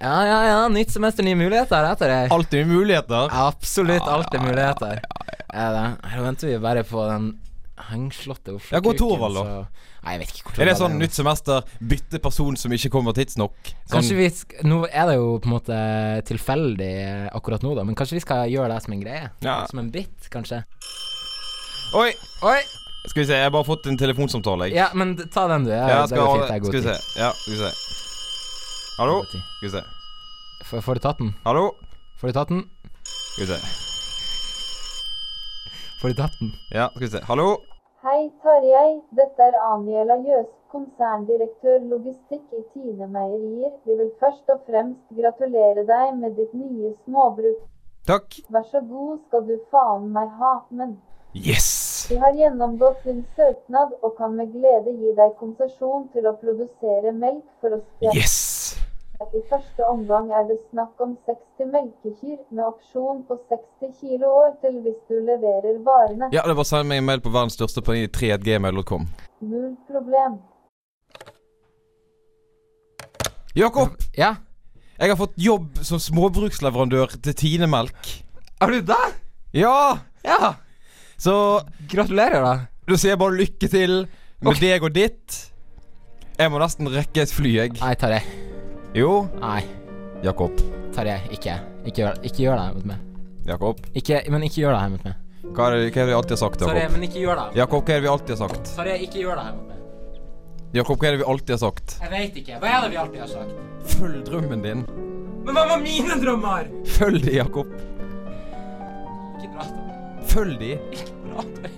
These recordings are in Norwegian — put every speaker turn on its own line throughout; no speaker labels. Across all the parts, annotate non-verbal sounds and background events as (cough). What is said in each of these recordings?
Ja, ja, ja. Nytt semester, nye muligheter etter det.
Alltid muligheter.
Absolutt alt er muligheter. Ja, da. Her venter vi bare på den hengslåtte
Ja, gå
Oslo-kuken,
Torvald, da.
så- Nei, jeg vet ikke hvor
Er det
Torvald
sånn
nå.
nytt semester, bytte person som ikke kommer tidsnok? Sånn,
Kanskje vi sk Nå er det jo på en måte tilfeldig eh, akkurat nå, da, men kanskje vi skal gjøre det som en greie?
Ja.
Som en bit, kanskje?
Oi!
Oi!
Skal vi se, jeg har bare fått en telefonsamtale, jeg.
Ja, men d- ta den, du. Ja,
Ja,
det går
skal,
fint. Det er god
skal vi
tid.
se. Ja, skal vi se. Hallo?
God tid.
Skal vi se.
Får- Får du tatt den?
Hallo?
Får du tatt den?
Skal vi se.
Får du tatt den?
Ja, skal vi se. Hallo?
Hei Tarjei, dette er Aniela Jøs, konserndirektør logistikk i Tine Meierier. Vi vil først og fremst gratulere deg med ditt nye småbruk.
Takk.
Vær så god skal du faen meg ha, men
Yes!
vi har gjennomgått din søknad og kan med glede gi deg konsesjon til å produsere melk for å spre.
Yes!
I første omgang er det snakk om 60 melkekyr med opsjon på 60 kilo år til hvis du leverer varene.
Ja, det er bare å sende meg en mail på verdens største på 3gmail.com.
Null problem.
Jakob,
Ja?
jeg har fått jobb som småbruksleverandør til Tine Melk.
Er du der?
Ja!
Ja!
Så
Gratulerer, da.
Da sier jeg bare lykke til med
Ok.
deg og ditt. Jeg må nesten rekke et fly, jeg.
Nei, Tarjei.
Jo,
Nei,
Jakob.
Tarjei. Ikke. Ikke gjør, ikke gjør det her mot meg.
Jakob.
Ikke, men ikke gjør det her mot meg.
Hva er det, hva er det vi alltid har sagt,
Tarjei,
Jakob?
men ikke gjør det. her.
Jakob, hva er det vi alltid har sagt?
Tarjei, ikke gjør det her mot meg.
Jakob, hva er det vi alltid har sagt?
Jeg veit ikke. Hva er det vi alltid har sagt?
Følg drømmen din.
Men hva var mine drømmer?
Følg de, Jakob.
Ikke prat om det.
Følg de.
Ikke prat om det.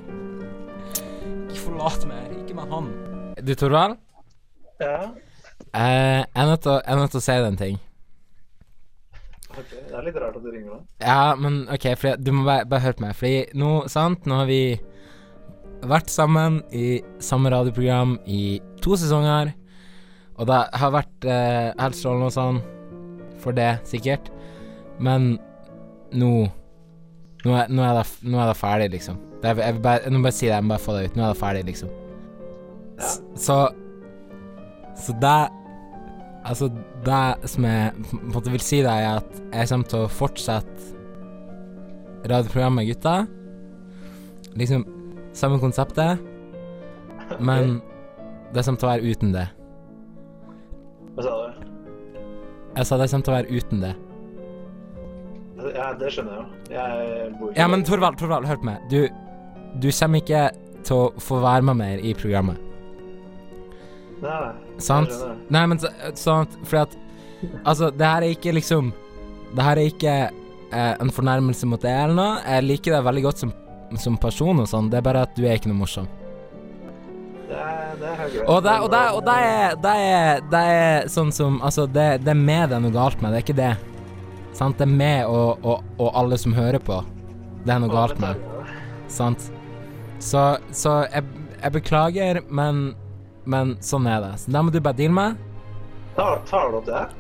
Ikke forlat meg. Ikke med han. Du, Torvald?
Ja,
Eh, jeg er nødt til å- jeg er nødt til å si deg en ting.
ok. Det er litt rart at du ringer da.
Ja, men OK, for du må bare, bare høre på meg. Fordi nå, sant, nå har vi vært sammen i samme radioprogram i to sesonger. Og det har vært eh, helt strålende og sånn for det, sikkert. Men nå Nå er, nå er, det, f- nå er det ferdig, liksom. Det er, jeg vil bare, nå bare si det, jeg må bare få det ut. Nå er det ferdig, liksom. S- Så Så det Altså, det som jeg på en måte vil si, det er at jeg kommer til å fortsette radioprogrammet med gutta. Liksom samme konseptet, men det kommer til å være uten det.
Hva sa du?
Jeg sa det kommer til å være uten det.
Ja, det skjønner jeg jo. Jeg bor ikke
Ja, men Torvald, Torvald, hør på meg. Du, du kommer ikke til å få være med mer i programmet.
Nei, nei. jeg
Sant?
skjønner det.
Nei, men så- sånn at Fordi at Altså, det her er ikke liksom Det her er ikke eh, en fornærmelse mot deg eller noe. Jeg liker deg veldig godt som, som person og sånn. Det er bare at du er ikke noe morsom.
Det er, det er helt greit.
Og det, og det, og det, er, det, er, det er sånn som Altså, det, det er med det er noe galt med. Det er ikke det. Sant? Det er med og, og, og alle som hører på. Det er noe galt med. Sant? Så, så jeg, jeg beklager, men, men sånn er det. Så da må du bare deale med.
Tar, tar du opp det her?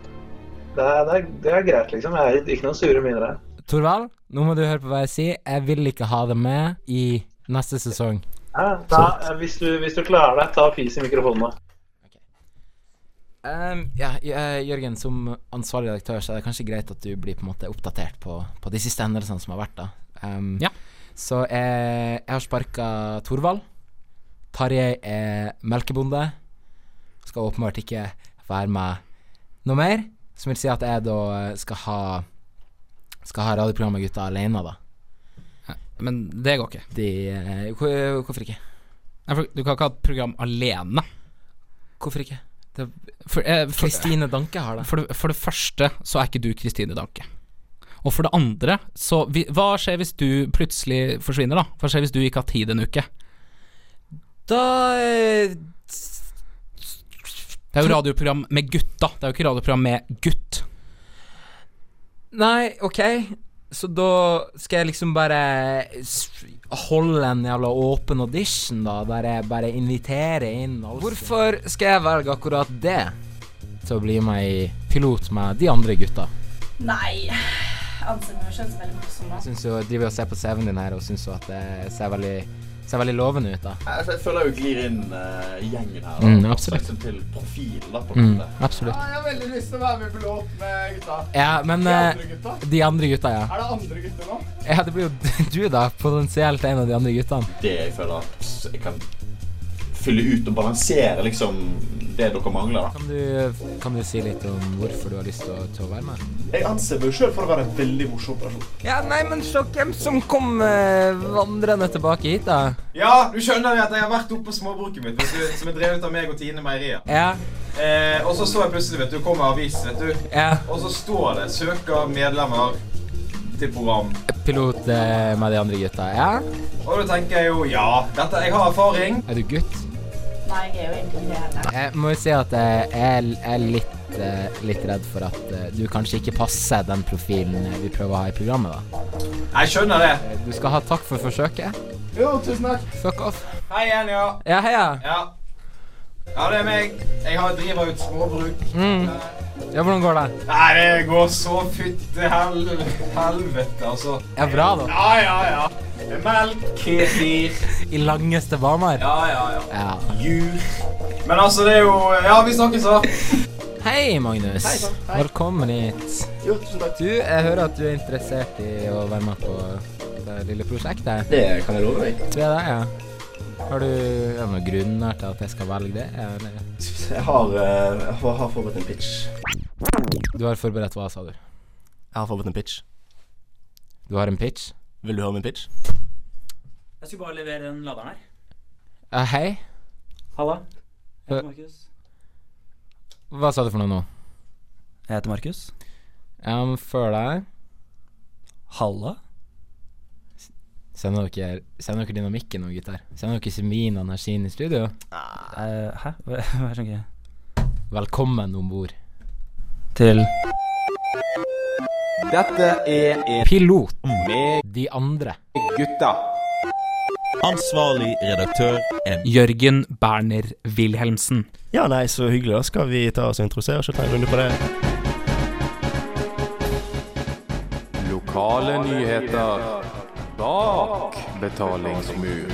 Det er, det, er, det er greit, liksom. Jeg er ikke noen sure miner her.
Torvald, nå må du høre på hva jeg sier. Jeg vil ikke ha det med i neste sesong.
Ja, ta, hvis, du, hvis du klarer deg, ta fis i mikrofonen nå.
Ehm, ja, J- eh, Jørgen, som ansvarlig redaktør så er det kanskje greit at du blir på en måte oppdatert på, på de siste hendelsene som har vært. da Ehm,
Ja.
Så eh, jeg har sparka Torvald. Tarjei er melkebonde. Skal åpenbart ikke være med noe mer. Som vil si at jeg da eh, skal ha Skal ha radioprogrammet Gutta alene, da.
Men det går ikke.
De, eh, hvor- hvorfor ikke?
Nei, for Du kan ikke ha et program alene.
Hvorfor ikke? Det,
For, eh, for,
Kristine Danke har det.
for, det, for det første så er ikke du Kristine Danke. Og for det andre, så vi, Hva skjer hvis du plutselig forsvinner, da? Hva skjer hvis du ikke har tid en uke?
Da eh,
Det er jo radioprogram med gutta, det er jo ikke radioprogram med gutt.
Nei, ok Så da skal jeg liksom bare s- Holde en jævla åpen audition da Der jeg bare inviterer inn altså. alle. Hvorfor skal jeg velge akkurat det? Til å bli med i pilot med de andre gutta
Nei. Anser meg jo selv som veldig morsom, da.
Jeg synes jo, jeg driver og ser på CV-en din her Og synes jo at det ser veldig Ser veldig lovende ut, da.
Altså, jeg føler jeg jo glir inn eh, i gjengen her. da.
Mm, absolutt.
Liksom til profil, da, på en
Mm,
måte.
absolutt.
Ja, Ah, jeg har veldig lyst til å være med i pilot med gutta.
Ja, men
De
eh,
andre gutta?
de andre gutta, ja.
Er det andre gutter nå?
Ja, det blir jo (laughs) du, da. Potensielt en av de andre guttene.
Det jeg føler at jeg kan fylle ut og balansere liksom det dere mangler, da.
Kan du, kan du si litt om hvorfor du har lyst til å, til å være med?
Jeg anser meg sjøl for å være en veldig morsom person.
Ja, nei, men se hvem som kom eh, vandrende tilbake hit, da.
Ja, du skjønner det at jeg har vært oppe på småbruket mitt, vet du, som er drevet av meg og Tine Meieriet.
Ja,
Eh, og så så jeg plutselig, vet du, kommer avis, vet du.
ja.
Og så står det 'søker medlemmer til program'.
Pilot eh, med de andre gutta. Ja.
Og da tenker jeg jo ja, dette, jeg har erfaring.
Er du gutt?
Nei, jeg er jo egentlig ikke det.
Jeg må jo si at eh, jeg er litt, eh, litt redd for at eh, du kanskje ikke passer den profilen eh, vi prøver å ha i programmet, da. Eh,
Jeg skjønner det.
Du skal ha takk for forsøket.
Jo, tusen takk.
Fuck off.
Hei igjen, ja.
Ja, heia.
Ja. Ja, det er meg. Jeg har driver ut småbruk. Eh,
Mm. Ja, hvordan går det?
Nei, det går så fytte hel helvete, altså.
Ja, bra, da.
Ja, ja, ja. Melk, kefir.
I langeste baner.
Ja, ja, ja.
Ja.
Jur. Men altså, det er jo Ja, vi snakkes, da.
Hei, Magnus.
Hei, sånn. Hei.
Velkommen hit.
Jo, tusen takk.
Du, jeg hører at du er interessert i å være med på det lille prosjektet.
Det kan jeg love deg.
Tror jeg det, ja. Har du er det noen grunner til at jeg skal velge det? Eller?
Jeg har, eh, jeg har har forberedt en pitch.
Du har forberedt hva, sa du?
Jeg har forberedt en pitch.
Du har en pitch?
Vil du høre min pitch?
Jeg skulle bare levere den laderen her.
Ja, hei.
Halla. Jeg
Eh.
heter Markus.
Hva sa du for noe nå?
Jeg heter Markus.
Ja, men før deg
Halla.
Sender dere, sender dere dynamikken nå, gutter? Sender dere semin energien i studio?
Eh, hæ? Hva (laughs) hva skjønner ikke?
Velkommen om bord.
Til
Dette er
Pilot.
med
De andre.
gutta.
Ansvarlig redaktør er
Jørgen Berner Wilhelmsen.
Ja, nei, så hyggelig. Da skal vi ta oss og introdusere oss og ta en runde på det.
Lokale nyheter bak betalingsmur.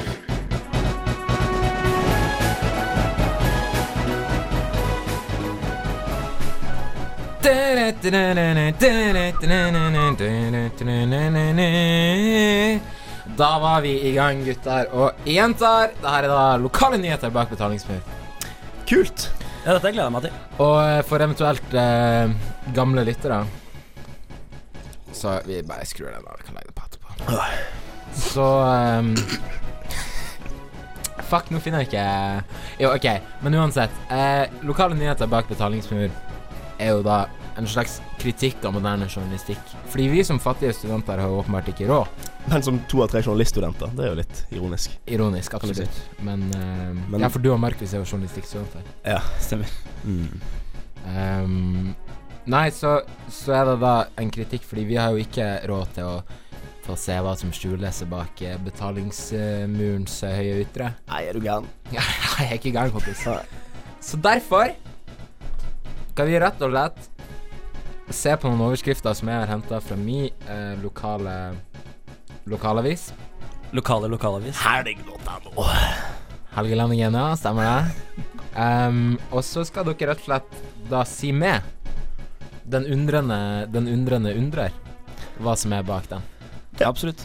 Da var vi i gang, gutter og jenter. Dette er da lokale nyheter bak betalingsmur.
Kult.
Ja, dette gleder jeg meg til.
Og eh, for eventuelt eh, gamle lyttere Så vi bare skrur den av. Vi kan legge det på etterpå. Så ehm, Fuck, nå finner jeg ikke eh, Jo, OK. Men uansett. Eh, lokale nyheter bak betalingsmur er jo da en slags kritikk av moderne journalistikk. Fordi vi som fattige studenter har jo åpenbart ikke råd.
Men som to av tre journaliststudenter, det er jo litt ironisk.
Ironisk,
du si.
absolutt. Men, ehm,
Men-
Ja, for du og Markus er jo journalistikkstudenter.
Stemmer.
Ehm, nei, så, så er det da en kritikk, fordi vi har jo ikke råd til å få se hva som skjules bak eh, betalingsmurens eh, høye ytre. (laughs)
Nei, er du gæren?
Jeg er ikke gæren, kompis. Så derfor kan vi rett og slett se på noen overskrifter som jeg har henta fra min eh, lokale lokalavis.
Lokale lokalavis.
Helg.no.
Helgelandingen, ja, stemmer det. Ehm, og så skal dere rett og slett da si med den undrende, den undrende undrer hva som er bak den.
Ja, absolutt.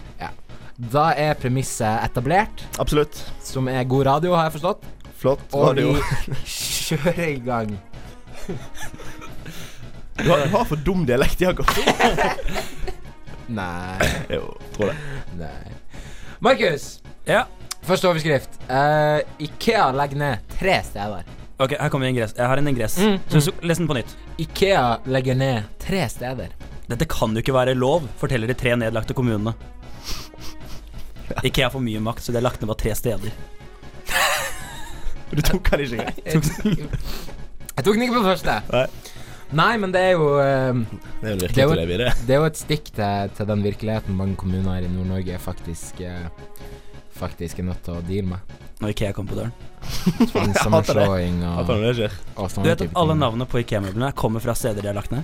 Da er premisset etablert,
Absolutt.
som er god radio, har jeg forstått.
Flott.
Og vi
Radio.
kjører i gang.
(laughs) Du har, du har for dum dialekt, (laughs) Jakob.
Nei,
Jo, tror det.
nei. Markus,
Ja.
første overskrift. Eh, Ikea legger ned tre steder.
Ok, her kommer ingress. Jeg har en ingress.
Mm,
Så så- Les den på nytt.
Ikea legger ned tre steder.
Dette kan jo ikke være lov, forteller de tre nedlagte kommunene. Ikea får mye makt, så de har lagt ned bare tre steder.
Du tok han ikke greit.
Jeg jeg tok den ikke på første.
Nei.
Nei, men det er jo eh,
Det er jo
Det er
virkelig
jo-
til å leve i, det.
Det er jo et stikk til, til den virkeligheten mange kommuner i Nord-Norge faktisk eh, Faktisk er nødt til å deale
(laughs)
med.
Når Ikea kommer på døren.
hater det.
Tvangssammenslåing og,
At han det skjer.
og
Du
sånne
vet at
type
alle
ting.
navnene på Ikea-møblene kommer fra steder de har lagt ned?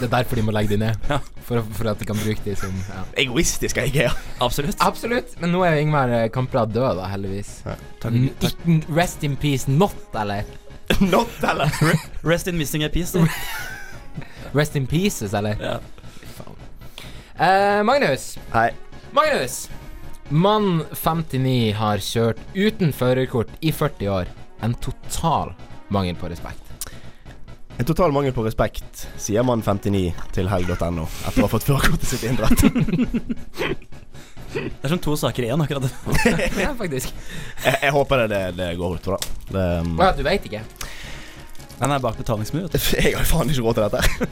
Det er derfor de må legge de
(laughs)
ned.
Ja.
For, for at de kan bruke de som ja.
Egoistisk av IKEA.
Absolutt.
Absolutt. Men nå er jo Ingmar eh, Kamprad død, da, heldigvis. Mm, ikke- Rest in peace not, eller?
Not, eller?
Rest in missing a piece. da.
Rest in pieces, eller?
Ja.
Faen. Eh, Magnus.
Hei.
Magnus! Mann 59 har kjørt uten førerkort i 40 år. En total mangel på
(laughs)
respekt.
En total mangel på respekt, sier mann 59 til helg.no etter å ha fått førerkortet sitt (laughs) inndratt.
Det er som to saker i én, akkurat.
Ja, faktisk.
Jeg, jeg håper det, det, det går ut, da. Det, um,
Å ja, du veit ikke?
Den er bak betalingsmur. vet du.
(laughs) jeg har faen ikke råd til dette.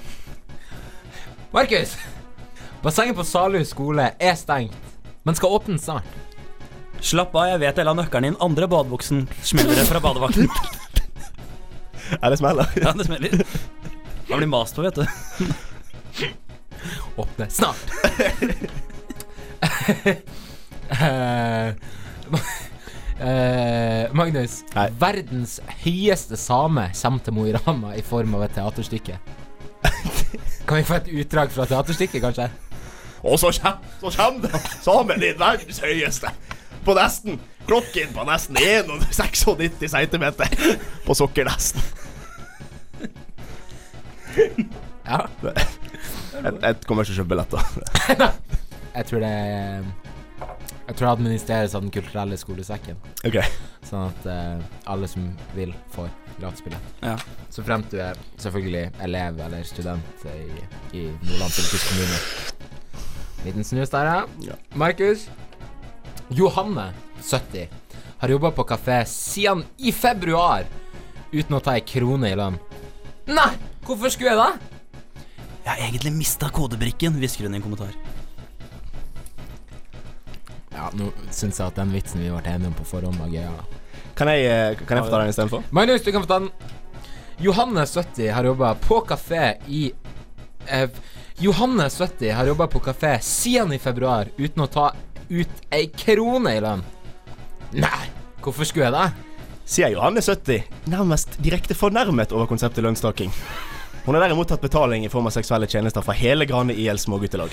Markus! Bassenget på Salhus skole er stengt, men skal åpne snart.
Slapp av, jeg vet jeg la nøkkelen i den andre badebuksen. Smeller det fra badevakten. (laughs)
(laughs) Ja, det smeller.
Ja, det smeller. Da blir mast på, vet du.
Åpne snart! Eh, eh, Magnus,
Hei.
verdens høyeste same kommer til Mo i Rana i form av et teaterstykke. Kan vi få et utdrag fra teaterstykket, kanskje?
Og så kommer det samen i verdens høyeste. På nesten klokken på nesten 1,96 cm på sokkernesten.
Ja.
(laughs) Jeg, jeg kommer ikke til å kjøpe billetter. (laughs)
Jeg tror det Jeg tror det administreres av Den kulturelle skolesekken,
Ok,
sånn at eh, alle som vil, får gratisbillett.
Ja.
Så fremt du er selvfølgelig elev eller student i, i Nordland fylkeskommune. Liten snus der, ja.
Ja.
Markus. Johanne, 70, har jobba på kafé siden i februar uten å ta ei krone i lønn. Nei, hvorfor skulle jeg det?
Jeg har egentlig mista kodebrikken, hvisker hun i en kommentar.
Ja, nå syns jeg at den vitsen vi ble enige om på forhånd, var gøy. Ja.
Kan jeg, eh, kan jeg få ta den istedenfor?
Magnus, du kan få ta den. Johanne 70 har jobba på kafé i eh, Johanne 70 har jobba på kafé siden i februar uten å ta ut ei krone i lønn. Nei, hvorfor skulle jeg det?
Sier Johanne 70, nærmest direkte fornærmet over konseptet lønnstaking. Hun har derimot tatt betaling i form av seksuelle tjenester fra hele Grane IL småguttelag.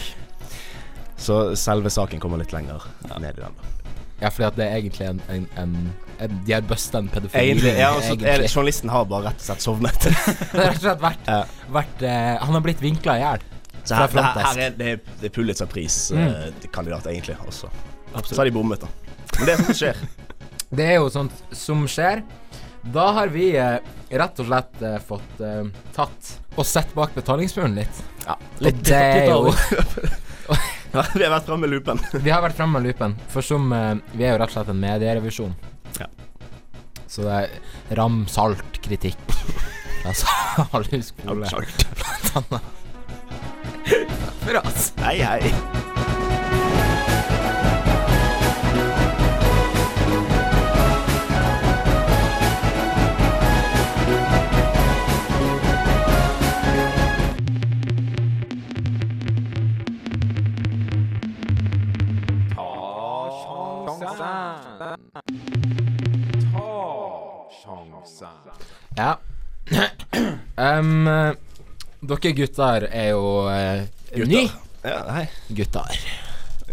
Så selve saken kommer litt lenger ned i den. da.
Ja, fordi at det er egentlig en, en, en, en De har busta en pedofil.
Egentlig, ja, altså, er,
egentlig.
Journalisten har bare rett og slett
(laughs)
sovnet.
Det har rett og slett vært,
Ja.
vært eh, Han har blitt vinkla i hjel.
Så (laughs)
Fra
her, det, her,
Frontex.
her er det, det er Pulitzer-priskandidat, egentlig, også. Mm. Så
Absolutt.
har de bommet, da. Men det er sånt som (laughs) skjer.
Det er jo sånt som skjer. Da har vi eh, rett og slett eh, fått eh, tatt og sett bak betalingsmuren litt.
Ja,
Og det
eh,
er jo
Vi har vært framme med loopen.
Vi har vært framme med loopen, for som eh, Vi er jo rett og slett en medierevisjon.
Ja.
Så det er ramsalt kritikk. Altså, alle skole
(laughs)
Bra, ass.
Hei, hei.
Ja. Em, eh, dere gutter er jo uh, ny.
Ja, hei.
Gutter.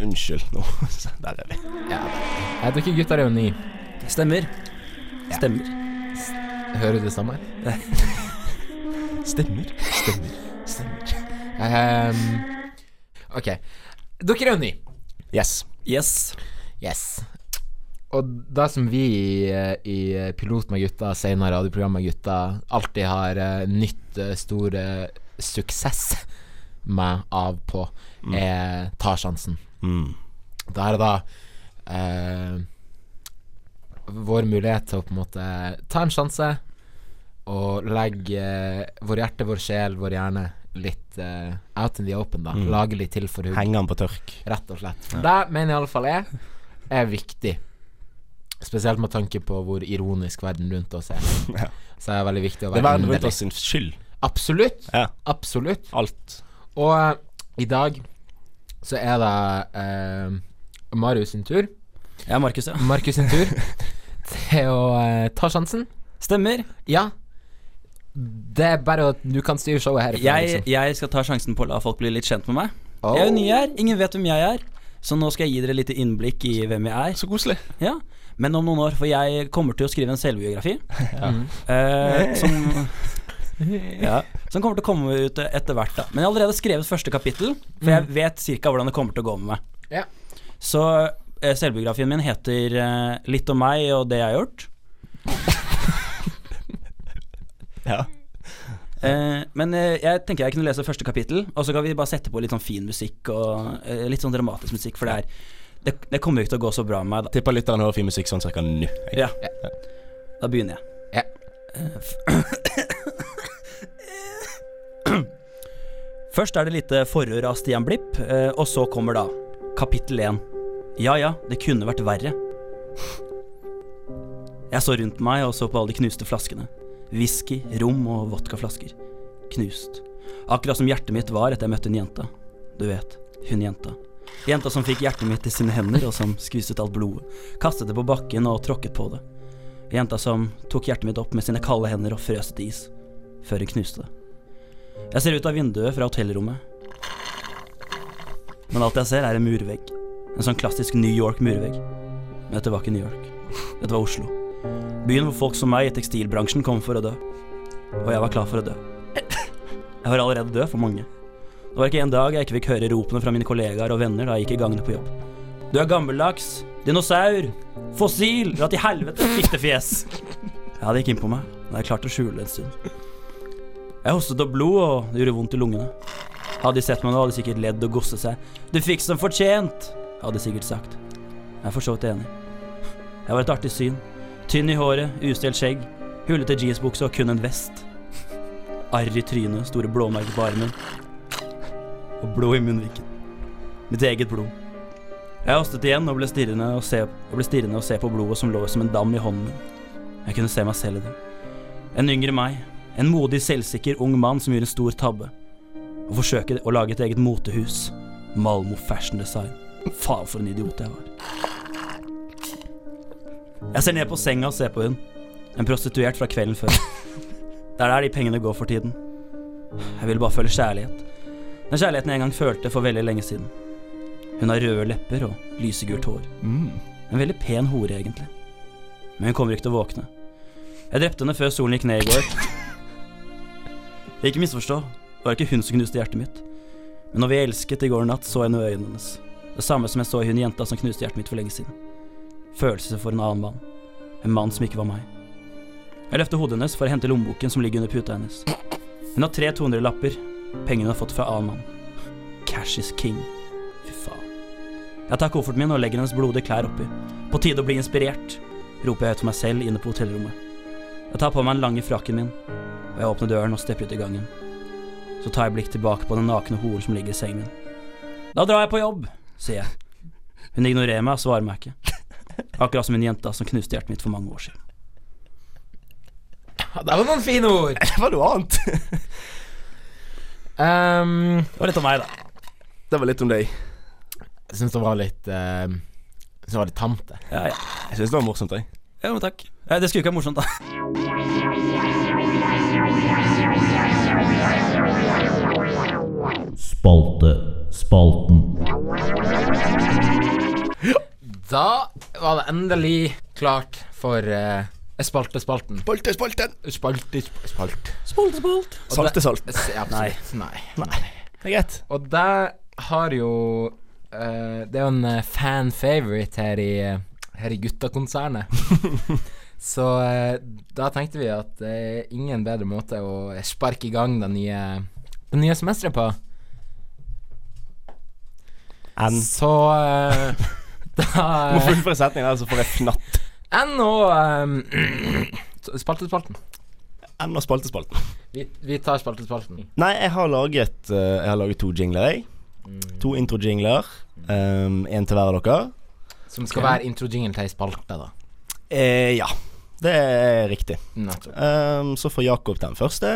Unnskyld nå. (laughs) Der er vi.
Nei, Eh, dere gutter er jo ny.
Stemmer. Stemmer.
Hører du det samme?
Stemmer. Stemmer. Stemmer.
Em, OK. Dere er jo ny.
Yes.
Yes.
Yes. Og det som vi i, i eh, Pilot med gutta, senere radioprogram med gutta, alltid har eh, nytt eh, stor eh, suksess med av på, er Ta sjansen.
Mm.
Det er da eh, vår mulighet til å på en måte ta en sjanse og legge eh, vår hjerte, vår sjel, vår hjerne litt eh, out in the open, da. Lage litt til for hugg
Henger han på tørk.
rett og slett. For Det mener iallfall jeg er viktig. Spesielt med tanke på hvor ironisk verden rundt oss er.
(laughs) Ja.
Så er det veldig viktig å
Det er
være
verden rundt
underlig.
oss sin skyld.
Absolutt.
Ja.
Absolutt.
Alt.
Og eh, i dag så er det eh, Marius sin tur.
Jeg er Markus, ja.
(laughs)
Markus sin tur til å eh, ta sjansen.
Stemmer.
Ja. Det er bare at du kan styre showet herifra.
Jeg,
liksom.
jeg skal ta sjansen på å la folk bli litt kjent med meg.
Oh.
Jeg er jo ny her, ingen vet hvem jeg er. Så nå skal jeg gi dere litt innblikk i hvem jeg er.
Så koselig.
Ja. Men om noen år, for jeg kommer til å skrive en
(laughs)
selvbiografi. eh, som, ja, som kommer til å komme ut etter hvert, da. Men jeg har allerede skrevet første kapittel, for jeg vet cirka hvordan det kommer til å gå med meg.
Ja.
Så eh, selvbiografien min heter eh, 'Litt om meg og det jeg har gjort'.
Ja.
Eh, men eh, jeg tenker jeg kunne lese første kapittel, og så kan vi bare sette på litt sånn fin musikk og eh, litt sånn dramatisk musikk, for det er Det, det kommer jo ikke til å gå så bra med meg, da.
Tipper lytteren hører fin musikk sånn cirka (laughs) nå. jeg.
Ja. Da begynner jeg.
Ja.
Eh, f- Først er det lite forhør av Stian Blipp, eh, og så kommer da kapittel én. Ja ja, det kunne vært verre. Jeg så rundt meg og så på alle de knuste flaskene. Whisky, rom og vodkaflasker. Knust. Akkurat som hjertet mitt var etter jeg møtte hun jenta. Du vet, hun jenta. Jenta som fikk hjertet mitt i sine hender, og som skviste ut alt blodet. Kastet det på bakken og tråkket på det. Jenta som tok hjertet mitt opp med sine kalde hender og frøs til is, før hun knuste det. Jeg ser ut av vinduet fra hotellrommet, men alt jeg ser er en murvegg. En sånn klassisk New York-murvegg. Men dette var ikke New York. Dette var Oslo. Byen hvor folk som meg i tekstilbransjen kom for å dø. Og jeg var klar for å dø. Jeg var allerede død for mange. Det var ikke en dag jeg ikke fikk høre ropene fra mine kollegaer og venner da jeg gikk i gangene på jobb. Du er gammeldags. Dinosaur. Fossil! Dra til helvete, fittefjes! Ja, det gikk inn på meg, men jeg klarte å skjule det en stund. Jeg hostet opp blod, og det gjorde vondt i lungene. Hadde de sett meg nå, hadde de sikkert ledd og gosset seg. Du fikk som fortjent, hadde de sikkert sagt. Jeg er for så vidt enig. Jeg var et artig syn. Tynn i håret, ustelt skjegg, hullete jeansbukse og kun en vest. Arr i trynet, store blåmerker på armen. Og blod i munnviken. Mitt eget blod. Jeg hostet igjen og ble stirrende og se, og ble stirrende og se på blodet som lå som en dam i hånden min. Jeg kunne se meg selv i det. En yngre meg. En modig, selvsikker ung mann som gjorde en stor tabbe. Å forsøke å lage et eget motehus. Malmo Fashion Design. Faen, for en idiot jeg var. Jeg ser ned på senga og ser på hun. En prostituert fra kvelden før. Det er der de pengene går for tiden. Jeg ville bare føle kjærlighet. Den kjærligheten jeg en gang følte for veldig lenge siden. Hun har røde lepper og lysegult hår. En veldig pen hore, egentlig. Men hun kommer ikke til å våkne. Jeg drepte henne før solen gikk ned i går. Ikke misforstå, det var ikke hun som knuste hjertet mitt. Men når vi elsket i går natt, så jeg noe i øynene hennes. Det samme som jeg så i hun jenta som knuste hjertet mitt for lenge siden. Følelser for en annen mann. En mann som ikke var meg. Jeg løfter hodet hennes for å hente lommeboken som ligger under puta hennes. Hun har tre 200-lapper. Pengene hun har fått fra annen mann. Cash is king. Fy faen. Jeg tar kofferten min og legger hennes blodige klær oppi. På tide å bli inspirert, roper jeg ut for meg selv inne på hotellrommet. Jeg tar på meg den lange frakken min, og jeg åpner døren og stepper ut i gangen. Så tar jeg blikk tilbake på den nakne horen som ligger i sengen min. Da drar jeg på jobb, sier jeg. Hun ignorerer meg og svarer meg ikke. Akkurat som hun jenta som knuste hjertet mitt for mange år siden.
Ja, Det var noen fine
(laughs)
ord!
Det var noe annet. (laughs)
Um,
Det var litt om meg, da.
Det var litt om deg.
jeg syns det var litt eh, Jeg syns det var litt tamt, det.
Ja, ja.
Jeg syns det var morsomt, jeg.
ja men takk. Ja, det skulle ikke være morsomt, da.
Spalte. Spalten.
Da var det endelig klart for eh, Spaltespalten.
Spalte, spalten.
Spalte, sp- spalt.
Spolt, spolt.
Salte, salt.
S- ja, Absolutt. Nei.
Det er greit.
Og det har jo eh, Det er jo en eh, fan favorite her i, eh, her i gutta-konsernet. Så eh, da tenkte vi at det er ingen bedre måte å sparke i gang det nye, det nye semesteret på.
N.
Så eh, da eh,
Må fullføre setningen der, så får jeg fnatt.
Enn nå eh, (clears throat) Spaltespalten.
N og spalte, spalten.
Vi, vi tar Spaltespalten.
Nei, jeg har laget, eh, jeg har laget to jingler, jeg. To intro-jingler. Um, en til hver av dere.
Som skal
Ok.
være intro-jingle til ei spalte, da.
Eh, ja, det er riktig.
Nettopp.
Um, så får Jakob den første.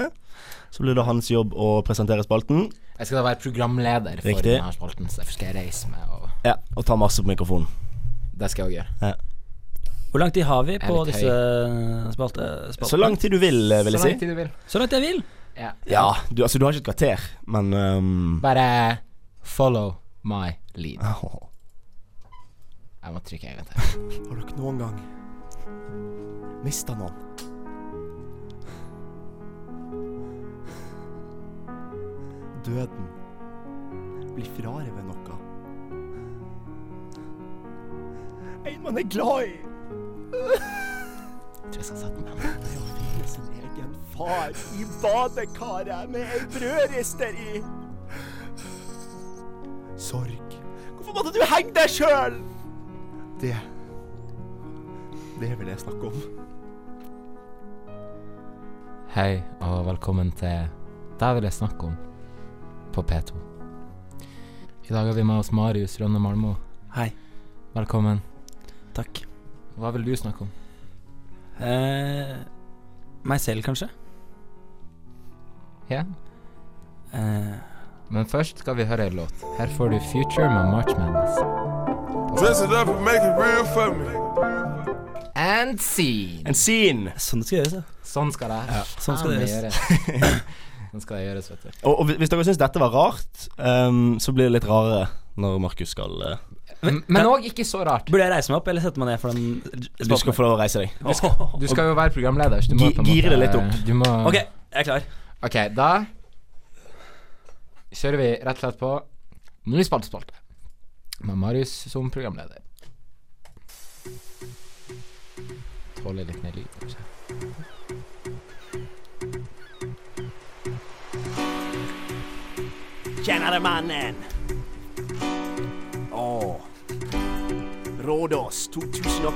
Så blir det hans jobb å presentere spalten.
Jeg skal da være programleder for
Riktig.
denne spalten, så derfor skal jeg reise meg, og
Ja, Og ta masse på mikrofonen.
det skal jeg òg gjøre.
Hvor lang tid har vi på
Jeg er litt
disse spalte, spaltene?
Så lang tid du vil, eh, vil jeg
Så lang
si.
tid du vil.
Så langt jeg vil.
Ja.
Ja, du, altså du har ikke et kvarter, men ehm, (laughs)
Bare follow my lead.
åh.
Jeg må trykke en gang til.
Har dere noen gang mista noen? Døden blir frarøvet noe. En man er glad i.
Jeg tror jeg skal sette meg.
Det å finne sin egen far i badekaret med ei brødrister i. Sorg. Hvorfor måtte du henge deg sjøl? Det Det vil jeg snakke om.
Hei, og velkommen til Der vil jeg snakke om på P2. I dag har vi med oss Marius Rønne Malmo.
Hei.
Velkommen.
Takk.
Hva vil du snakke om?
Eh, meg selv, kanskje?
Ja?
Eh,
Men først skal vi høre en låt. Her får du Future med March Madness.
Dress it up and make it real for me.
And scene!
En scene.
sånn det skal gjøres, ja.
Sånn skal det
sånn skal det gjøres.
(laughs) Sånn skal det gjøres, vet du.
Og, og hvis dere syns dette var rart, ehm, så blir det litt rarere når Markus skal eh,
M- Men òg ikke så rart.
Burde jeg reise meg opp, eller sette meg ned for den
Du skal få lov å reise deg.
Du skal jo være programleder, så du må
Gi-
på en måte
gire det litt opp.
Du må
Ok, jeg er klar.
Ok, da kjører vi rett og slett på Ny spaltespalte. Med Marius som programleder. Tåler litt mer lyd, kanskje.
Kjenner du mannen? Å. Rådås 2018.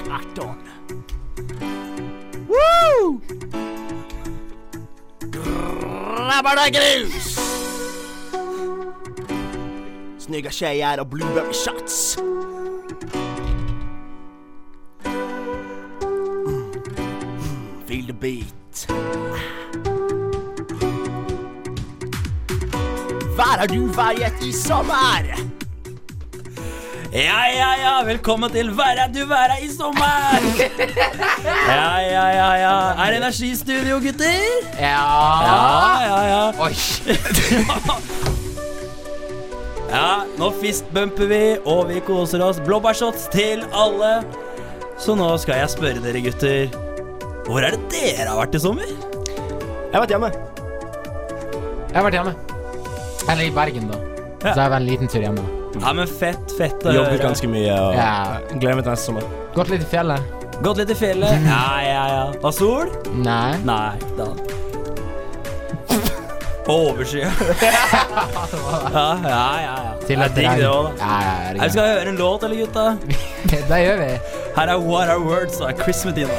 Woo! Grabbar det grus! Snygga tjejer och blueberry shots. Mm. Mm. Feel the beat. Var har du varit i sommar?
Ja, ja, ja, velkommen til Væra du væra i sommer! Ja, ja, ja, ja. Er det energistudio, gutter?
Ja.
Ja, ja, ja.
Oi.
(laughs) Ja, nå fistbumper vi, og vi koser oss. Blåbærshots til alle. Så nå skal jeg spørre dere, gutter. Hvor er det dere har vært i sommer?
Jag har varit hemma.
Jeg har vært hjemme. Eller i Bergen, da. Så
Ja.
jeg var en liten tur hjemme.
Ja, men fett, fett eh, å
Jobbet
høre.
ganska mycket och
Ja.
glömmer inte nästa sommar.
Gått litt i fjellet.
Gått litt i (laughs) fjellet. Ja, ja, ja. Og sol?
Nei.
Nei, da Overskyet. (laughs) ja, ja, ja, ja.
Til
Ja,
et
digg det
regn.
også, da.
Ja, ja, ja,
Nei, Vi
herregud.
skal høre en låt, eller gutta?
Det gjør vi.
Her er What Are Words av Chris Medina.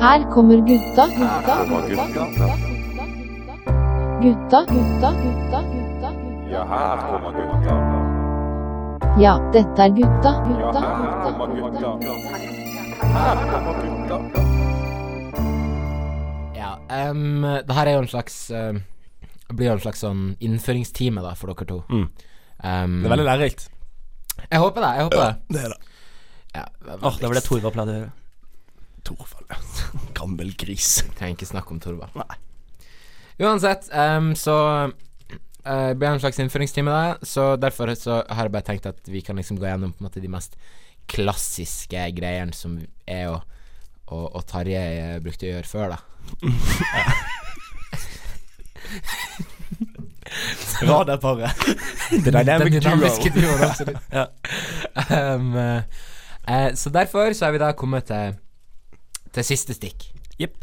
Her kommer gutta, gutta, gutta, gutta. Gutta, gutta, gutta, gutta.
Ja, her kommer gutta.
Ja, dette er gutta,
Ja,
gutta,
her
gutta,
kommer
gutta.
gutta. Her kommer gutta.
Ja, um, det her er jo en slags um, Blir jo en slags sånn innføringstime da for dere to.
Mm.
Um,
Det är väldigt lärorikt.
Jeg håper det. jeg håper det
Det er det.
Ja,
Åh, Da ble det Torvald pleide å høre.
Torvald, ja. Gammel gris.
Trenger ikke snakke om Torvald.
Nei.
Uansett, ehm, så eh, blir det en slags innføringstime, da. Så derfor så har jeg bare tenkt at vi kan liksom gå gjennom på en måte de mest klassiske greiene som er å og, og Tarjei eh, brukte å gjøre før, da.
(laughs) Radarparet. The Dynamic
Den dynamiske
Duo.
duoen, absolutt. (laughs) Ehm, eh, eh, så derfor så er vi da kommet til, til siste stikk.
Jepp.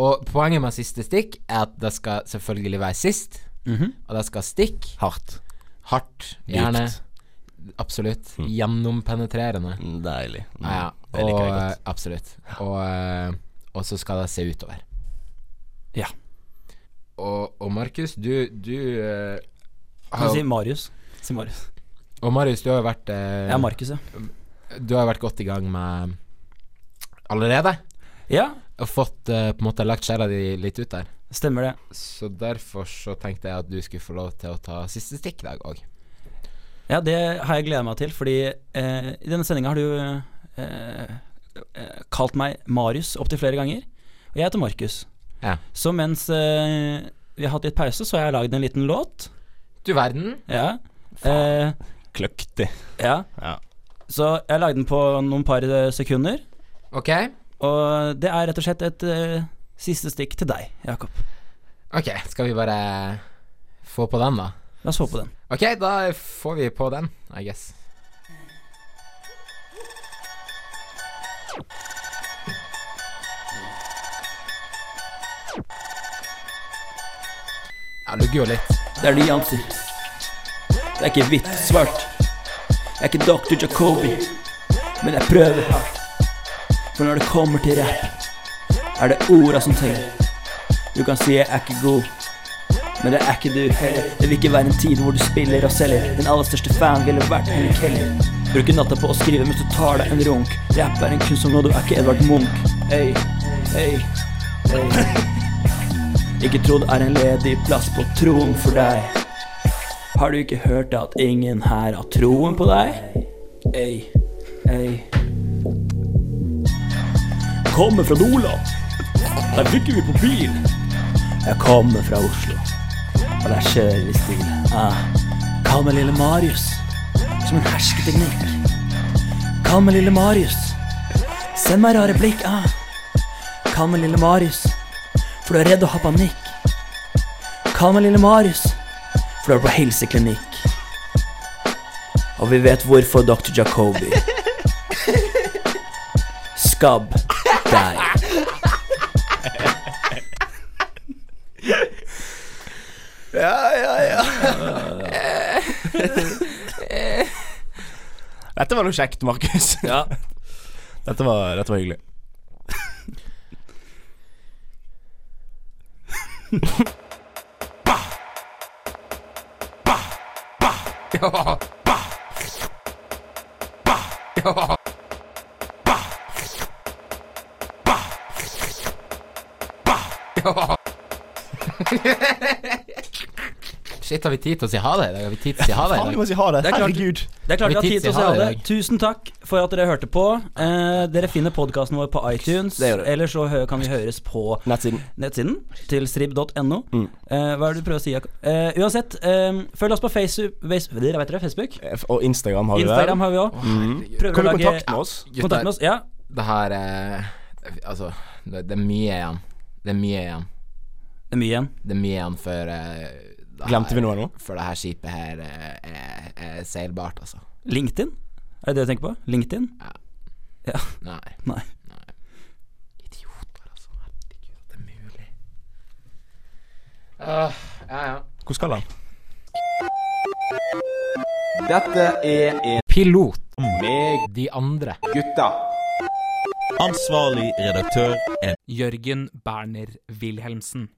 Og poenget med siste stikk er at det skal selvfølgelig være sist,
Mhm.
og det skal stikke
Hardt.
hardt, Hmm. gjerne.
Dypt.
Absolutt. Gjennompenetrerende.
Mm, Deilig. Mm,
Ja, ja.
Det liker jeg
Og,
godt.
Absolutt. Og, eh, og så skal det se utover.
Ja.
Og, og Markus, du, du eh,
Kan
har,
du si Marius? Si Marius.
Og Marius, du har jo vært eh,
Ja, Markus, ja.
Du har jo vært godt i gang med Allerede.
Ja,
Og fått eh, på en måte lagt sjela di litt ut der.
Stemmer det.
Så derfor så tenkte jeg at du skulle få lov til å ta siste stikk i dag òg.
Ja, det har jeg gleda meg til, fordi eh, i denne sendinga har du eh, eh, kalt meg Marius opptil flere ganger. Og jeg heter Markus.
Ja.
Så mens eh, vi har hatt litt pause, så har jeg lagd en liten låt.
Du verden.
Ja. Eh,
Kløktig.
Ja. Så jeg lagde den på noen par eh, sekunder.
Ok
Og det er rett og slett et eh, siste stikk til deg, Jakob.
Ok, skal vi bare få på den, da?
La oss få på den.
Ok, da får vi på den, I guess. Ja, det gul litt.
Det er nyanser. Det er ikke hvitt, svart. Jeg er ikke Dr. Jacobi, men jeg prøver hardt. For når det kommer til rapp, er det orda som teller. Du kan si jeg er ikke god, men det er ikke du heller. Det vil ikke være en tid hvor du spiller og selger. Den aller største fan ville vært Henrik Heller. Bruker natta på å skrive mens du tar deg en runk. Rapp er en kunst som nå, du er ikke Edvard Munch. Ey, ey, ey. Ikke tro det er en ledig plass på troen for deg. Har du ikke hørt at ingen her har troen på deg? Ey, ey.
Kommer fra Nordland. Der fikk vi på bil.
Jeg kommer fra Oslo, og der kjører vi stil. Ah. Kall meg lille Marius, som en hersketeknikk. Kall meg lille Marius, send meg rare blikk. Ah. Kall meg lille Marius, for du er redd og har panikk. Kall meg lille Marius, for du er på helseklinikk.
Og vi vet hvorfor Dr. Jacobi.
Skabb deg.
Ja, ja, ja. (laughs) Dette var noe kjekt, (laughs) Markus.
Ja.
Dette var, dette var hyggelig.
Ja. Ja. Ja. Shit, har vi tid til å si ha det i dag? Har vi tid til å si ha det i dag?
(laughs) Faen, vi må si ha det.
Det er klart,
Herregud.
Det er klart vi har tid til å si ha det.
i dag?
Tusen takk for at dere hørte på. Eh, dere finner podkasten vår på iTunes.
Det gjør dere.
Eller så hø- kan vi høres på
Nettsiden.
nettsiden til strib.no.
Mm.
Eh, hva er det du prøver å si, Jakob? Eh, uansett, eh, følg oss på Facesu- Face- dere vet dere, Facebook.
F- Eh, Og Instagram har
Instagram
vi
har vi òg. Prøver
Kan
å
du
lage-
kontakte med oss?
Gutter, Kontakt med oss, ja.
Det her eh, Altså, det, det er mye igjen. Det er mye igjen.
Det er mye igjen.
Det er mye igjen før eh, det
Glemte
her-
vi noe nå?
Før det her skipet her eh, er, er seilbart, altså.
LinkedIn? Er det det du tenker på? LinkedIn?
Ja.
ja.
Nei. altså.
Nei.
Ah, ja, ja.
Hvor skal han?
Dette er en pilot med de andre gutta.
Ansvarlig redaktør Jørgen Berner Wilhelmsen.